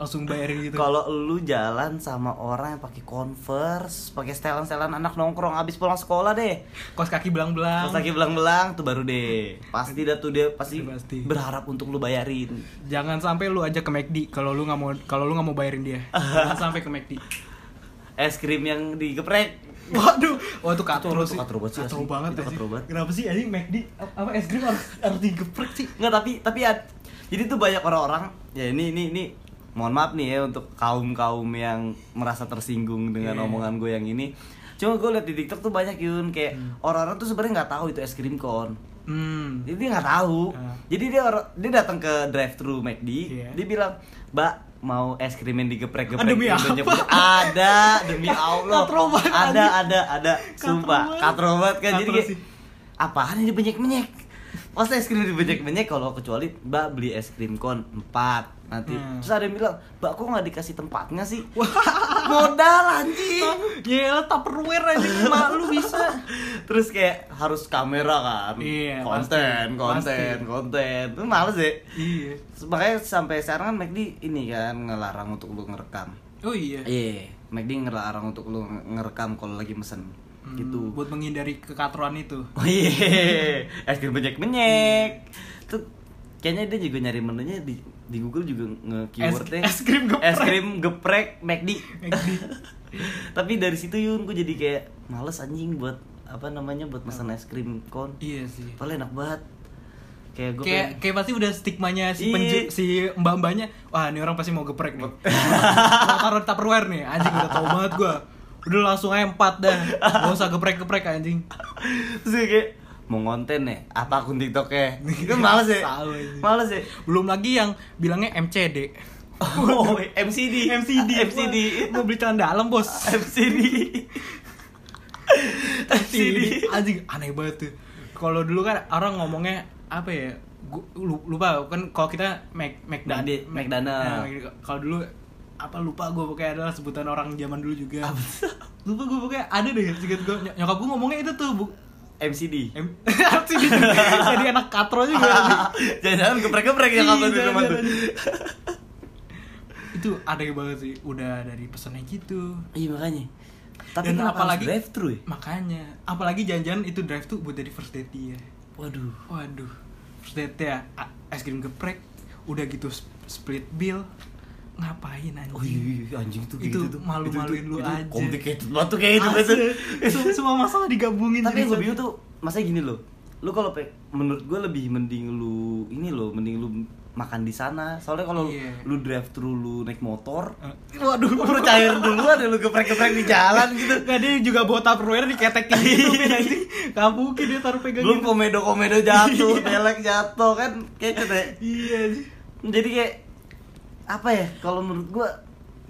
Speaker 1: langsung bayarin gitu.
Speaker 2: Kalau lu jalan sama orang yang pakai Converse, pakai setelan-setelan anak nongkrong abis pulang sekolah deh.
Speaker 1: Kos kaki belang-belang.
Speaker 2: Pas lagi belang-belang tuh baru deh. Pasti dah tuh dia pasti,
Speaker 1: Udah pasti.
Speaker 2: berharap untuk lu bayarin.
Speaker 1: Jangan sampai lu aja ke McD kalau lu nggak mau kalau lu nggak mau bayarin dia. Jangan sampai ke McD.
Speaker 2: Es krim yang digeprek.
Speaker 1: Waduh, wah itu katro
Speaker 2: Katro,
Speaker 1: sih.
Speaker 2: itu katro banget sih,
Speaker 1: Katro
Speaker 2: asli.
Speaker 1: banget ya
Speaker 2: Itu
Speaker 1: sih.
Speaker 2: katro banget.
Speaker 1: Kenapa sih anjing McD apa es krim harus harus digeprek sih?
Speaker 2: Nggak tapi tapi ad- jadi tuh banyak orang-orang ya ini ini ini mohon maaf nih ya untuk kaum-kaum yang merasa tersinggung dengan
Speaker 1: Iya.
Speaker 2: omongan gue yang ini. Cuma gue liat di TikTok tuh banyak Yun kayak orang-orang tuh sebenarnya nggak tahu itu es krim kon.
Speaker 1: Hmm.
Speaker 2: Jadi dia nggak tahu.
Speaker 1: Ah.
Speaker 2: Jadi dia orang- dia datang ke drive thru McD,
Speaker 1: Iya.
Speaker 2: dia bilang, "Mbak, mau es krim yang digeprek-geprek
Speaker 1: Ah, demi
Speaker 2: yang
Speaker 1: apa?
Speaker 2: banyak-banyak?" ada demi Allah
Speaker 1: Katro banget,
Speaker 2: ada
Speaker 1: anjing.
Speaker 2: ada ada
Speaker 1: Katro
Speaker 2: sumpah
Speaker 1: banget.
Speaker 2: katro banget kan jadi
Speaker 1: Katro
Speaker 2: kayak,
Speaker 1: sih.
Speaker 2: apaan ini benyek-benyek Masa es krim dibenyek-benyek kalau kecuali Mbak beli es krim kon 4 nanti
Speaker 1: Hmm.
Speaker 2: terus ada yang bilang Mbak kok nggak dikasih tempatnya sih modal anjing
Speaker 1: Ya, tupperware aja malu bisa.
Speaker 2: Terus kayak harus kamera kan.
Speaker 1: Iya,
Speaker 2: konten,
Speaker 1: pasti.
Speaker 2: konten,
Speaker 1: Pasti.
Speaker 2: konten. Itu males ya.
Speaker 1: Iya.
Speaker 2: Makanya sampai sekarang kan McD ini kan ngelarang untuk lu ngerekam.
Speaker 1: Oh iya.
Speaker 2: Iya, McD ngelarang untuk lu ngerekam kalau lagi mesen.
Speaker 1: Hmm,
Speaker 2: Gitu.
Speaker 1: buat menghindari kekatruan itu
Speaker 2: Oh iya, es krim menyek-menyek. Tuh kayaknya dia juga nyari menunya di di Google juga nge-keywordnya
Speaker 1: Es- es krim geprek.
Speaker 2: es krim geprek McD.
Speaker 1: McD.
Speaker 2: Tapi dari situ Yun gue jadi kayak males anjing buat apa namanya buat pesan es krim kon.
Speaker 1: iya sih
Speaker 2: Padahal enak banget. Kayak gue
Speaker 1: kayak kayak pasti udah stigmanya si
Speaker 2: Iya.
Speaker 1: penju, si mbak mbaknya wah ini orang pasti mau geprek nih mau taruh di tupperware nih anjing udah tau banget gua udah langsung aja empat dah gak usah geprek geprek anjing
Speaker 2: terus gue kayak mau konten ya apa akun TikToknya? Itu males ya.
Speaker 1: Tahu anjing.
Speaker 2: Males ya.
Speaker 1: belum lagi yang bilangnya MCD
Speaker 2: Oh, MCD.
Speaker 1: MCD
Speaker 2: MCD.
Speaker 1: Wah, mau beli celana dalam bos
Speaker 2: MCD.
Speaker 1: MCD anjing aneh banget tuh kalau dulu kan orang ngomongnya apa ya gua lu- lupa kan kalau kita Mac McDonald
Speaker 2: McD- McDonald.
Speaker 1: kalau dulu apa lupa gue pokoknya adalah sebutan orang zaman dulu juga lupa gue pokoknya ada deh sedikit gue nyokap gue ngomongnya itu tuh bu
Speaker 2: MCD.
Speaker 1: em- MCD jadi anak katro juga anjing.
Speaker 2: Jangan-jangan geprek-geprek ya kapan tuh
Speaker 1: Iya,
Speaker 2: kapan tuh.
Speaker 1: jangan, itu aneh banget sih udah dari pesannya gitu
Speaker 2: Iya makanya. Tapi
Speaker 1: Dan
Speaker 2: kenapa
Speaker 1: apalagi-
Speaker 2: lagi drive thru ya?
Speaker 1: makanya apalagi janjian itu drive tuh buat jadi first date dia
Speaker 2: Waduh.
Speaker 1: Waduh, first date ya a- es krim geprek, udah gitu sp- split bill, ngapain anjing?
Speaker 2: Oh iya, iya, anjing tuh
Speaker 1: Itu malu-maluin lu aja.
Speaker 2: Complicated banget tuh kayak itu
Speaker 1: Asli,
Speaker 2: gitu.
Speaker 1: sem- semua masalah digabungin. jadi
Speaker 2: Tapi yang gue
Speaker 1: satu.
Speaker 2: bingung tuh, masanya gini loh. Lu kalau pe- menurut gue lebih mending lu ini loh, mending lu makan di sana. Soalnya kalau lu-
Speaker 1: Iya.
Speaker 2: lu drive thru lu naik motor,
Speaker 1: Eh, Waduh,
Speaker 2: lu percaya dulu ada lu geprek-geprek di jalan gitu.
Speaker 1: Nggak, dia juga bawa tupperware diketekin gitu, men anjing. Nggak mungkin dia taruh pegang
Speaker 2: Belum
Speaker 1: gitu.
Speaker 2: komedo-komedo jatuh, belek jatuh kan kayak gitu ya.
Speaker 1: Iya, anjing.
Speaker 2: jadi kayak apa ya kalau menurut gua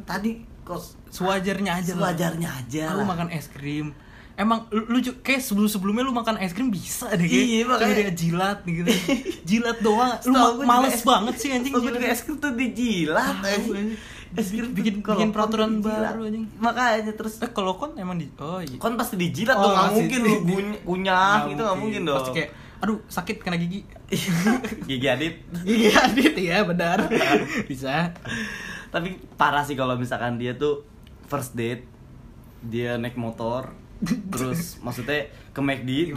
Speaker 2: tadi kos
Speaker 1: sewajarnya aja lah.
Speaker 2: Sewajarnya aja
Speaker 1: Aku
Speaker 2: lah.
Speaker 1: makan es krim. Emang lu, lu ju- kayak sebelum sebelumnya lu makan es krim bisa deh. kayak.
Speaker 2: Iya, makanya.
Speaker 1: Kayak dia jilat gitu. jilat doang. Lu
Speaker 2: Setahu
Speaker 1: ma-
Speaker 2: gua juga
Speaker 1: males
Speaker 2: es-
Speaker 1: banget sih anjing.
Speaker 2: setahu gua
Speaker 1: jilat.
Speaker 2: juga es krim tuh dijilat
Speaker 1: Tahu,
Speaker 2: anjing.
Speaker 1: anjing.
Speaker 2: es krim tuh
Speaker 1: Bikin-
Speaker 2: kalau
Speaker 1: bikin
Speaker 2: kon
Speaker 1: peraturan
Speaker 2: dijilat.
Speaker 1: baru, anjing.
Speaker 2: makanya terus
Speaker 1: Eh kalau kon emang di Oh iya.
Speaker 2: kon Kan pasti dijilat
Speaker 1: Oh,
Speaker 2: dong nggak
Speaker 1: masih-
Speaker 2: mungkin lu guny- kunyah gitu nggak mungkin dong
Speaker 1: Pasti kayak aduh sakit kena gigi.
Speaker 2: gigi adit
Speaker 1: gigi adit ya benar. Bisa.
Speaker 2: tapi parah sih kalau misalkan dia tuh first date dia naik motor terus maksudnya
Speaker 1: Ke
Speaker 2: ke McD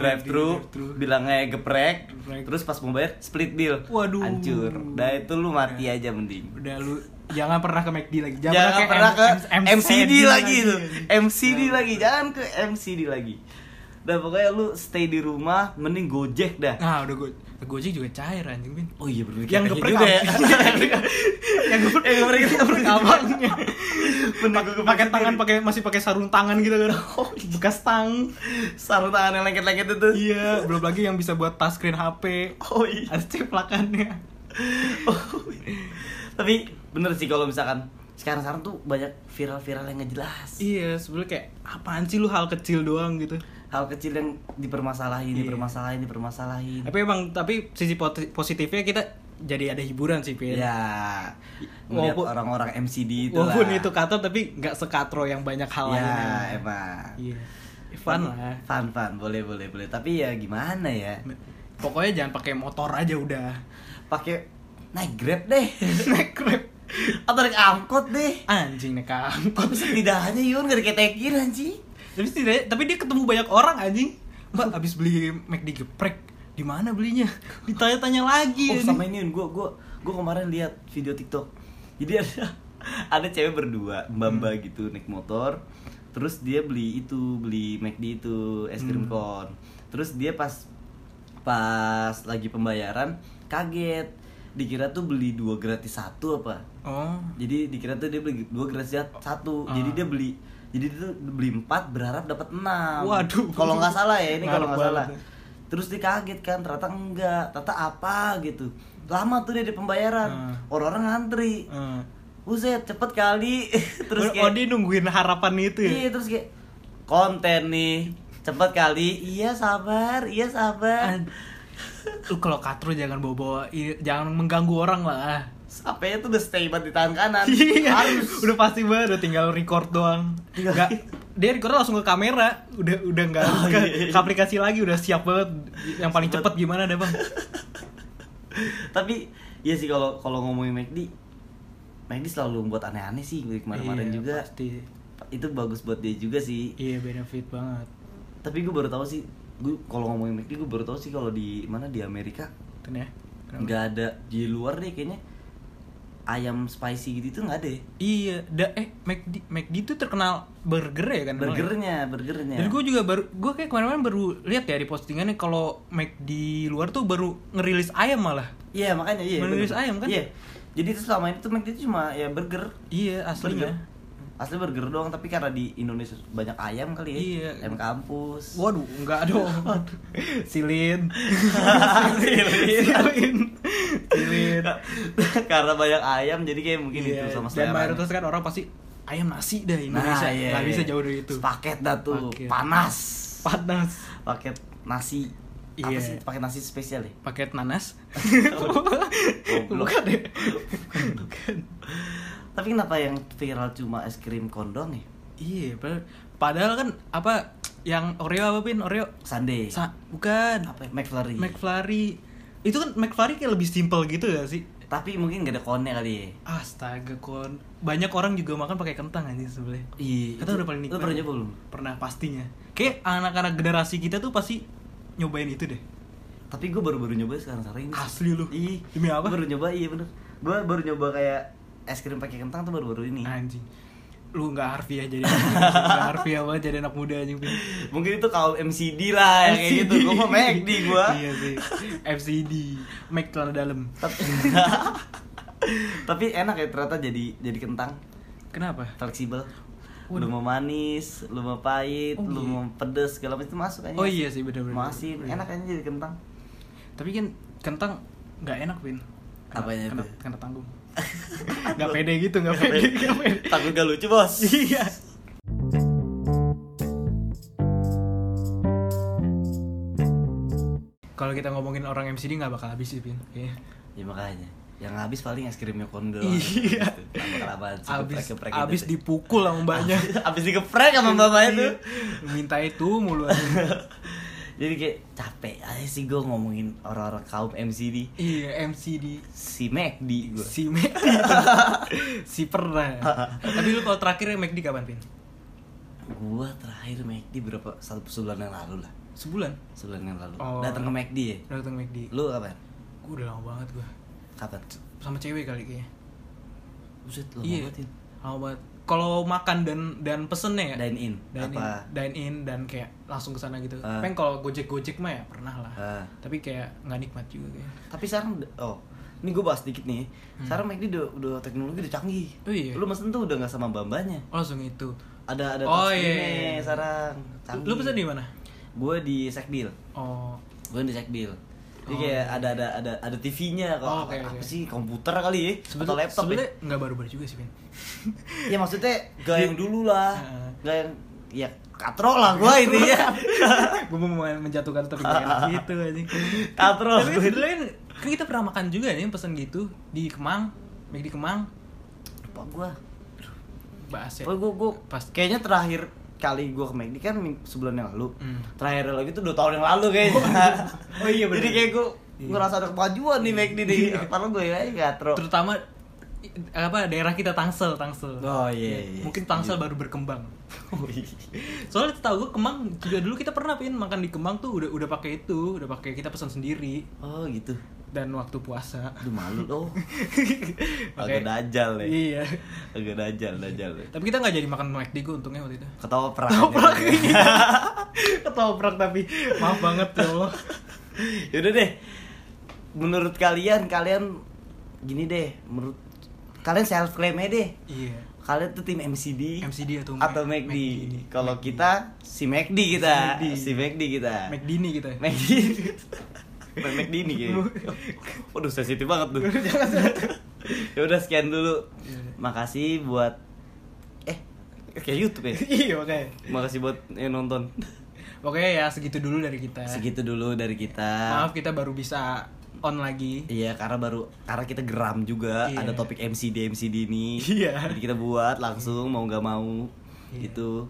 Speaker 1: McD,
Speaker 2: drive thru
Speaker 1: drive-thru.
Speaker 2: bilangnya "Eh, geprek
Speaker 1: Geprek.
Speaker 2: terus pas mau bayar split bill
Speaker 1: Waduh.
Speaker 2: hancur dah itu lu mati aja mending
Speaker 1: Udah lu jangan pernah ke McD lagi.
Speaker 2: jangan
Speaker 1: ke
Speaker 2: pernah
Speaker 1: M-
Speaker 2: ke
Speaker 1: M-
Speaker 2: MCD lagi
Speaker 1: anjing.
Speaker 2: tuh MCD lagi jangan ke MCD lagi Dan pokoknya lu stay di rumah, mending gojek dah.
Speaker 1: Nah, udah gue Gojek juga cair anjing, Bin.
Speaker 2: Oh iya bener
Speaker 1: Yang
Speaker 2: kayak
Speaker 1: geprek
Speaker 2: gitu ya.
Speaker 1: yang geprek
Speaker 2: Eh,
Speaker 1: yang geprek itu Eh, geprek abangnya.
Speaker 2: Bener, gue geprek
Speaker 1: Pakai
Speaker 2: sendiri.
Speaker 1: tangan pakai masih pakai sarung tangan gitu kan. Bekas tang.
Speaker 2: Sarung tangan yang lengket-lengket itu.
Speaker 1: Iya, belum lagi yang bisa buat touchscreen HP.
Speaker 2: Oh iya.
Speaker 1: Ada ceplakannya.
Speaker 2: Oh, Tapi bener sih kalau misalkan sekarang-sekarang tuh banyak viral-viral yang nggak jelas.
Speaker 1: Iya, sebenarnya kayak apaan sih lu hal kecil doang gitu.
Speaker 2: Hal kecil yang dipermasalahin,
Speaker 1: Iya.
Speaker 2: dipermasalahin, dipermasalahin.
Speaker 1: Tapi emang tapi sisi poti- positifnya kita jadi ada hiburan sih, Pin.
Speaker 2: Ya, ngeliat
Speaker 1: Walaupun-
Speaker 2: orang-orang MCD itu
Speaker 1: Walaupun
Speaker 2: lah.
Speaker 1: itu katro tapi nggak sekatro yang banyak hal
Speaker 2: ya,
Speaker 1: lainnya.
Speaker 2: emang.
Speaker 1: Iya. Fun lah. Iya.
Speaker 2: Fun, fun. Boleh, boleh, boleh. Tapi ya gimana ya?
Speaker 1: Pokoknya jangan pakai motor aja udah.
Speaker 2: Pakai naik Grab deh.
Speaker 1: Naik Grab.
Speaker 2: Atau naik angkot deh.
Speaker 1: Anjing naik angkot.
Speaker 2: Tapi setidaknya Yun gak diketekin anjing.
Speaker 1: Tapi setidaknya- tapi dia ketemu banyak orang anjing. Mbak habis beli McD geprek. Di mana belinya? Ditanya-tanya lagi.
Speaker 2: Oh
Speaker 1: anjing.
Speaker 2: sama ini Yun, gue gua, gua kemarin lihat video TikTok. Jadi ada ada cewek berdua, mbak-mbak gitu naik motor. Terus dia beli itu, beli McD itu, es
Speaker 1: Hmm.
Speaker 2: krim cone. Terus dia pas pas lagi pembayaran kaget. Dikira tuh beli dua gratis satu apa?
Speaker 1: Oh.
Speaker 2: Jadi dikira tuh dia beli dua gratis satu.
Speaker 1: Ah.
Speaker 2: Jadi dia beli jadi dia tuh beli empat berharap dapat enam.
Speaker 1: Waduh.
Speaker 2: Kalau nggak salah ya ini kalau
Speaker 1: Ngarep
Speaker 2: nggak salah.
Speaker 1: banget.
Speaker 2: Terus dia kaget kan ternyata enggak, ternyata apa gitu. Lama tuh dia di pembayaran.
Speaker 1: Ah.
Speaker 2: Orang-orang ngantri.
Speaker 1: Eh.
Speaker 2: Buset, cepet kali. terus
Speaker 1: Oh, oh, dia
Speaker 2: kayak
Speaker 1: nungguin harapan itu ya.
Speaker 2: Iya, terus kayak konten nih. Cepet kali. Iya, sabar. Iya, sabar.
Speaker 1: An- Lu kalau katro jangan bawa-bawa i- jangan mengganggu orang lah.
Speaker 2: Sampai tuh udah stay banget di tangan kanan. Iya.
Speaker 1: Iya. Harus.
Speaker 2: Harus.
Speaker 1: udah pasti banget udah tinggal record doang.
Speaker 2: Tinggal-
Speaker 1: Nggak, dia record langsung ke kamera, udah udah nggak
Speaker 2: Oh,
Speaker 1: ke,
Speaker 2: iya, iya.
Speaker 1: ke aplikasi lagi udah siap banget. Yang paling cepet gimana deh, Bang?
Speaker 2: tapi iya sih kalau kalau ngomongin McD McD selalu buat aneh-aneh sih gue
Speaker 1: Iya,
Speaker 2: kemarin-kemarin juga
Speaker 1: Pasti.
Speaker 2: itu bagus buat dia juga sih
Speaker 1: Iya, benefit banget.
Speaker 2: tapi gue baru tahu sih gue kalau ngomongin McD gue baru tahu sih kalau di mana di Amerika
Speaker 1: Tuh nih ya. Kenapa?
Speaker 2: nggak ada di luar deh kayaknya ayam spicy gitu tuh nggak ada ya.
Speaker 1: Iya, da, eh McD McD itu terkenal burger ya kan? emang ya?
Speaker 2: burgernya burgernya
Speaker 1: Dan gue juga baru, gue kayak kemarin-kemarin baru lihat ya di postingannya kalau Mac di luar tuh baru ngerilis ayam malah.
Speaker 2: iya makanya iya
Speaker 1: Menulis
Speaker 2: bener.
Speaker 1: ayam kan?
Speaker 2: iya jadi itu selama ini tuh McD tuh cuma ya burger
Speaker 1: Iya aslinya.
Speaker 2: Burger. asli burger doang tapi karena di Indonesia banyak ayam kali ya
Speaker 1: Iya.
Speaker 2: ayam kampus
Speaker 1: Waduh, enggak dong. Silin. Silin. Silin.
Speaker 2: karena banyak ayam jadi kayak mungkin itu
Speaker 1: Iya,
Speaker 2: sama
Speaker 1: Dan
Speaker 2: seleranya.
Speaker 1: mayoritas kan orang pasti ayam nasi dah Indonesia.
Speaker 2: iya,
Speaker 1: Nggak
Speaker 2: iya.
Speaker 1: bisa jauh dari itu.
Speaker 2: Sepaket dah tuh,
Speaker 1: Paket.
Speaker 2: panas.
Speaker 1: Panas.
Speaker 2: Paket nasi. Apa
Speaker 1: Iya.
Speaker 2: sih paket nasi spesial ya?
Speaker 1: Paket nanas.
Speaker 2: Goblok.
Speaker 1: Bukan ya? deh.
Speaker 2: Tapi kenapa yang viral cuma es krim kondong ya?
Speaker 1: Iya, padahal- padahal kan apa yang Oreo apa pin Oreo?
Speaker 2: Sunday.
Speaker 1: Sa bukan.
Speaker 2: Iya. apa ya? McFlurry.
Speaker 1: McFlurry itu kan McFlurry kayak lebih simpel gitu gak sih
Speaker 2: Tapi mungkin gak ada konnya kali ya.
Speaker 1: astaga kon banyak orang juga makan pakai kentang anjing sebenernya
Speaker 2: Iya.
Speaker 1: Kentang udah paling nikmat ya.
Speaker 2: Lu pernah nyoba belum?
Speaker 1: pernah pastinya kayak anak-anak generasi kita tuh pasti nyobain itu deh
Speaker 2: Tapi gue baru-baru nyoba sekarang sekarang ini.
Speaker 1: Asli lu.
Speaker 2: Iya.
Speaker 1: Demi apa?
Speaker 2: Baru nyoba iya bener. Gue baru nyoba kayak es krim pakai kentang tuh baru-baru ini.
Speaker 1: anjing lu nggak harfiah jadi nggak harfiah banget jadi anak muda anjing Pin.
Speaker 2: Mungkin itu kaum MCD lah yang kayak gitu. Gue mau McD gue.
Speaker 1: iya sih FCD Mac celana dalam
Speaker 2: tapi, tapi enak ya ternyata jadi jadi kentang
Speaker 1: kenapa
Speaker 2: fleksibel
Speaker 1: Waduh.
Speaker 2: lu mau manis lu mau pahit
Speaker 1: Oh,
Speaker 2: lu
Speaker 1: iya.
Speaker 2: mau pedes segala macam itu masuk aja
Speaker 1: Oh, iya sih, bener-bener.
Speaker 2: mau asin
Speaker 1: Iya.
Speaker 2: enak ya. aja jadi kentang
Speaker 1: tapi kan kentang nggak enak pin Kena-
Speaker 2: Apanya
Speaker 1: kena,
Speaker 2: itu?
Speaker 1: kena tanggung nggak pede gitu nggak pede nggak pede
Speaker 2: takut gak lucu bos
Speaker 1: iya kalau kita ngomongin orang MCD nggak bakal habis sih pin Iya.
Speaker 2: ya makanya yang habis paling es krimnya kondo
Speaker 1: Iya.
Speaker 2: habis Nah,
Speaker 1: abis abis dipukul sama mbaknya
Speaker 2: gitu. habis digeprek sama bapaknya tuh
Speaker 1: Iya. minta itu mulu anjing.
Speaker 2: jadi kayak capek aja sih gue ngomongin orang-orang kaum MCD
Speaker 1: iya MCD
Speaker 2: si McD gue
Speaker 1: si McD si pernah tapi lu kalau terakhir McD kapan pin
Speaker 2: gua terakhir McD berapa satu sebulan yang lalu lah
Speaker 1: sebulan
Speaker 2: sebulan yang lalu
Speaker 1: Oh.
Speaker 2: datang ke McD ya
Speaker 1: datang McD
Speaker 2: lu kapan
Speaker 1: Gue udah lama banget gue
Speaker 2: kapan
Speaker 1: Sama cewek kali kayaknya
Speaker 2: buset ya. lu
Speaker 1: Iya
Speaker 2: ngobatin
Speaker 1: Lama banget kalau makan dan dan pesennya ya
Speaker 2: dine in
Speaker 1: dine in,
Speaker 2: apa
Speaker 1: dine in dan kayak langsung ke sana gitu.
Speaker 2: Ah.
Speaker 1: Tapi kalau gojek gojek mah ya pernah lah.
Speaker 2: Ah.
Speaker 1: Tapi kayak nggak nikmat juga kayaknya.
Speaker 2: tapi sekarang udah- oh ini gue bahas dikit nih sekarang McD udah, udah teknologi udah canggih
Speaker 1: Hmm. Oh, iya.
Speaker 2: lu mesen tuh udah nggak sama bambanya
Speaker 1: Oh, langsung itu.
Speaker 2: ada ada
Speaker 1: Oh,
Speaker 2: touchscreen-nya
Speaker 1: iya, iya.
Speaker 2: sekarang canggih.
Speaker 1: Lu pesan di mana?
Speaker 2: gue di sekbil
Speaker 1: Oh,
Speaker 2: gue di sekbil jadi
Speaker 1: Oh.
Speaker 2: kayak ada ada ada ada TV-nya kok.
Speaker 1: Oh,
Speaker 2: apa,
Speaker 1: oke, oke.
Speaker 2: apa sih komputer kali ya? atau
Speaker 1: sebetulnya
Speaker 2: laptop ya?
Speaker 1: sebetulnya nggak baru-baru juga sih, Vin.
Speaker 2: Ya maksudnya gak yang dulu lah.
Speaker 1: Heeh.
Speaker 2: Gak yang ya katro lah gua ini ya.
Speaker 1: gue mau main- menjatuhkan tapi gak enak gitu anjing
Speaker 2: Katro.
Speaker 1: tapi sebetulnya kan, kan kita pernah makan juga nih pesen gitu di Kemang di Kemang
Speaker 2: Apa gua?
Speaker 1: bahas ya
Speaker 2: Apa Oh, gua gua
Speaker 1: Pas-
Speaker 2: kayaknya terakhir kali gua ke McD kan ming- sebulan yang lalu.
Speaker 1: Hmm.
Speaker 2: Terakhir lagi tuh 2 tahun yang lalu kayaknya.
Speaker 1: Oh, iya, bener.
Speaker 2: Jadi kayak gua
Speaker 1: Iya.
Speaker 2: gua rasa ada kemajuan nih McD nih. Padahal gua ya katro.
Speaker 1: terutama i- apa daerah kita Tangsel Tangsel
Speaker 2: Oh, iya, iya.
Speaker 1: mungkin Tangsel baru berkembang
Speaker 2: Oh, iya.
Speaker 1: soalnya tahu gue Kemang juga dulu kita pernah pin makan di Kemang tuh udah udah pakai itu udah pakai kita pesan sendiri
Speaker 2: Oh gitu.
Speaker 1: dan waktu puasa
Speaker 2: Aduh malu loh.
Speaker 1: Pakai-
Speaker 2: Agak dajal ya.
Speaker 1: iya
Speaker 2: Agak dajal, dajal. ya.
Speaker 1: tapi kita nggak jadi makan McD gue untungnya waktu itu
Speaker 2: Ketawa perang.
Speaker 1: ketoprak ketoprak tapi maaf banget ya Allah
Speaker 2: Yaudah deh. Menurut kalian, kalian gini deh. Menurut kalian self claim aja deh.
Speaker 1: iya
Speaker 2: Kalian tuh tim MCD,
Speaker 1: MCD atau
Speaker 2: atau
Speaker 1: Mac-
Speaker 2: McD.
Speaker 1: McD.
Speaker 2: Kalau kita si McD kita,
Speaker 1: McD.
Speaker 2: si McD kita.
Speaker 1: McDini kita
Speaker 2: McD. Bukan McD nih kayaknya. Waduh sensitif banget tuh. ya udah sekian dulu.
Speaker 1: Iya.
Speaker 2: Makasih buat eh kayak YouTube ya.
Speaker 1: iya oke
Speaker 2: Makasih buat yang nonton.
Speaker 1: oke ya segitu dulu dari kita
Speaker 2: Segitu dulu dari kita.
Speaker 1: maaf kita baru bisa on lagi
Speaker 2: Iya, karena baru karena kita geram juga
Speaker 1: Iya.
Speaker 2: ada topik MCD MCD ini.
Speaker 1: Iya.
Speaker 2: Jadi kita buat langsung mau nggak mau.
Speaker 1: Iya.
Speaker 2: Gitu.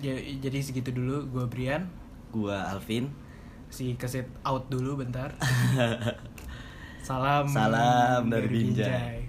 Speaker 1: jadi, jadi segitu dulu gue Brian
Speaker 2: Gua Alvin.
Speaker 1: si keset out dulu bentar salam
Speaker 2: Salam dari Binjai.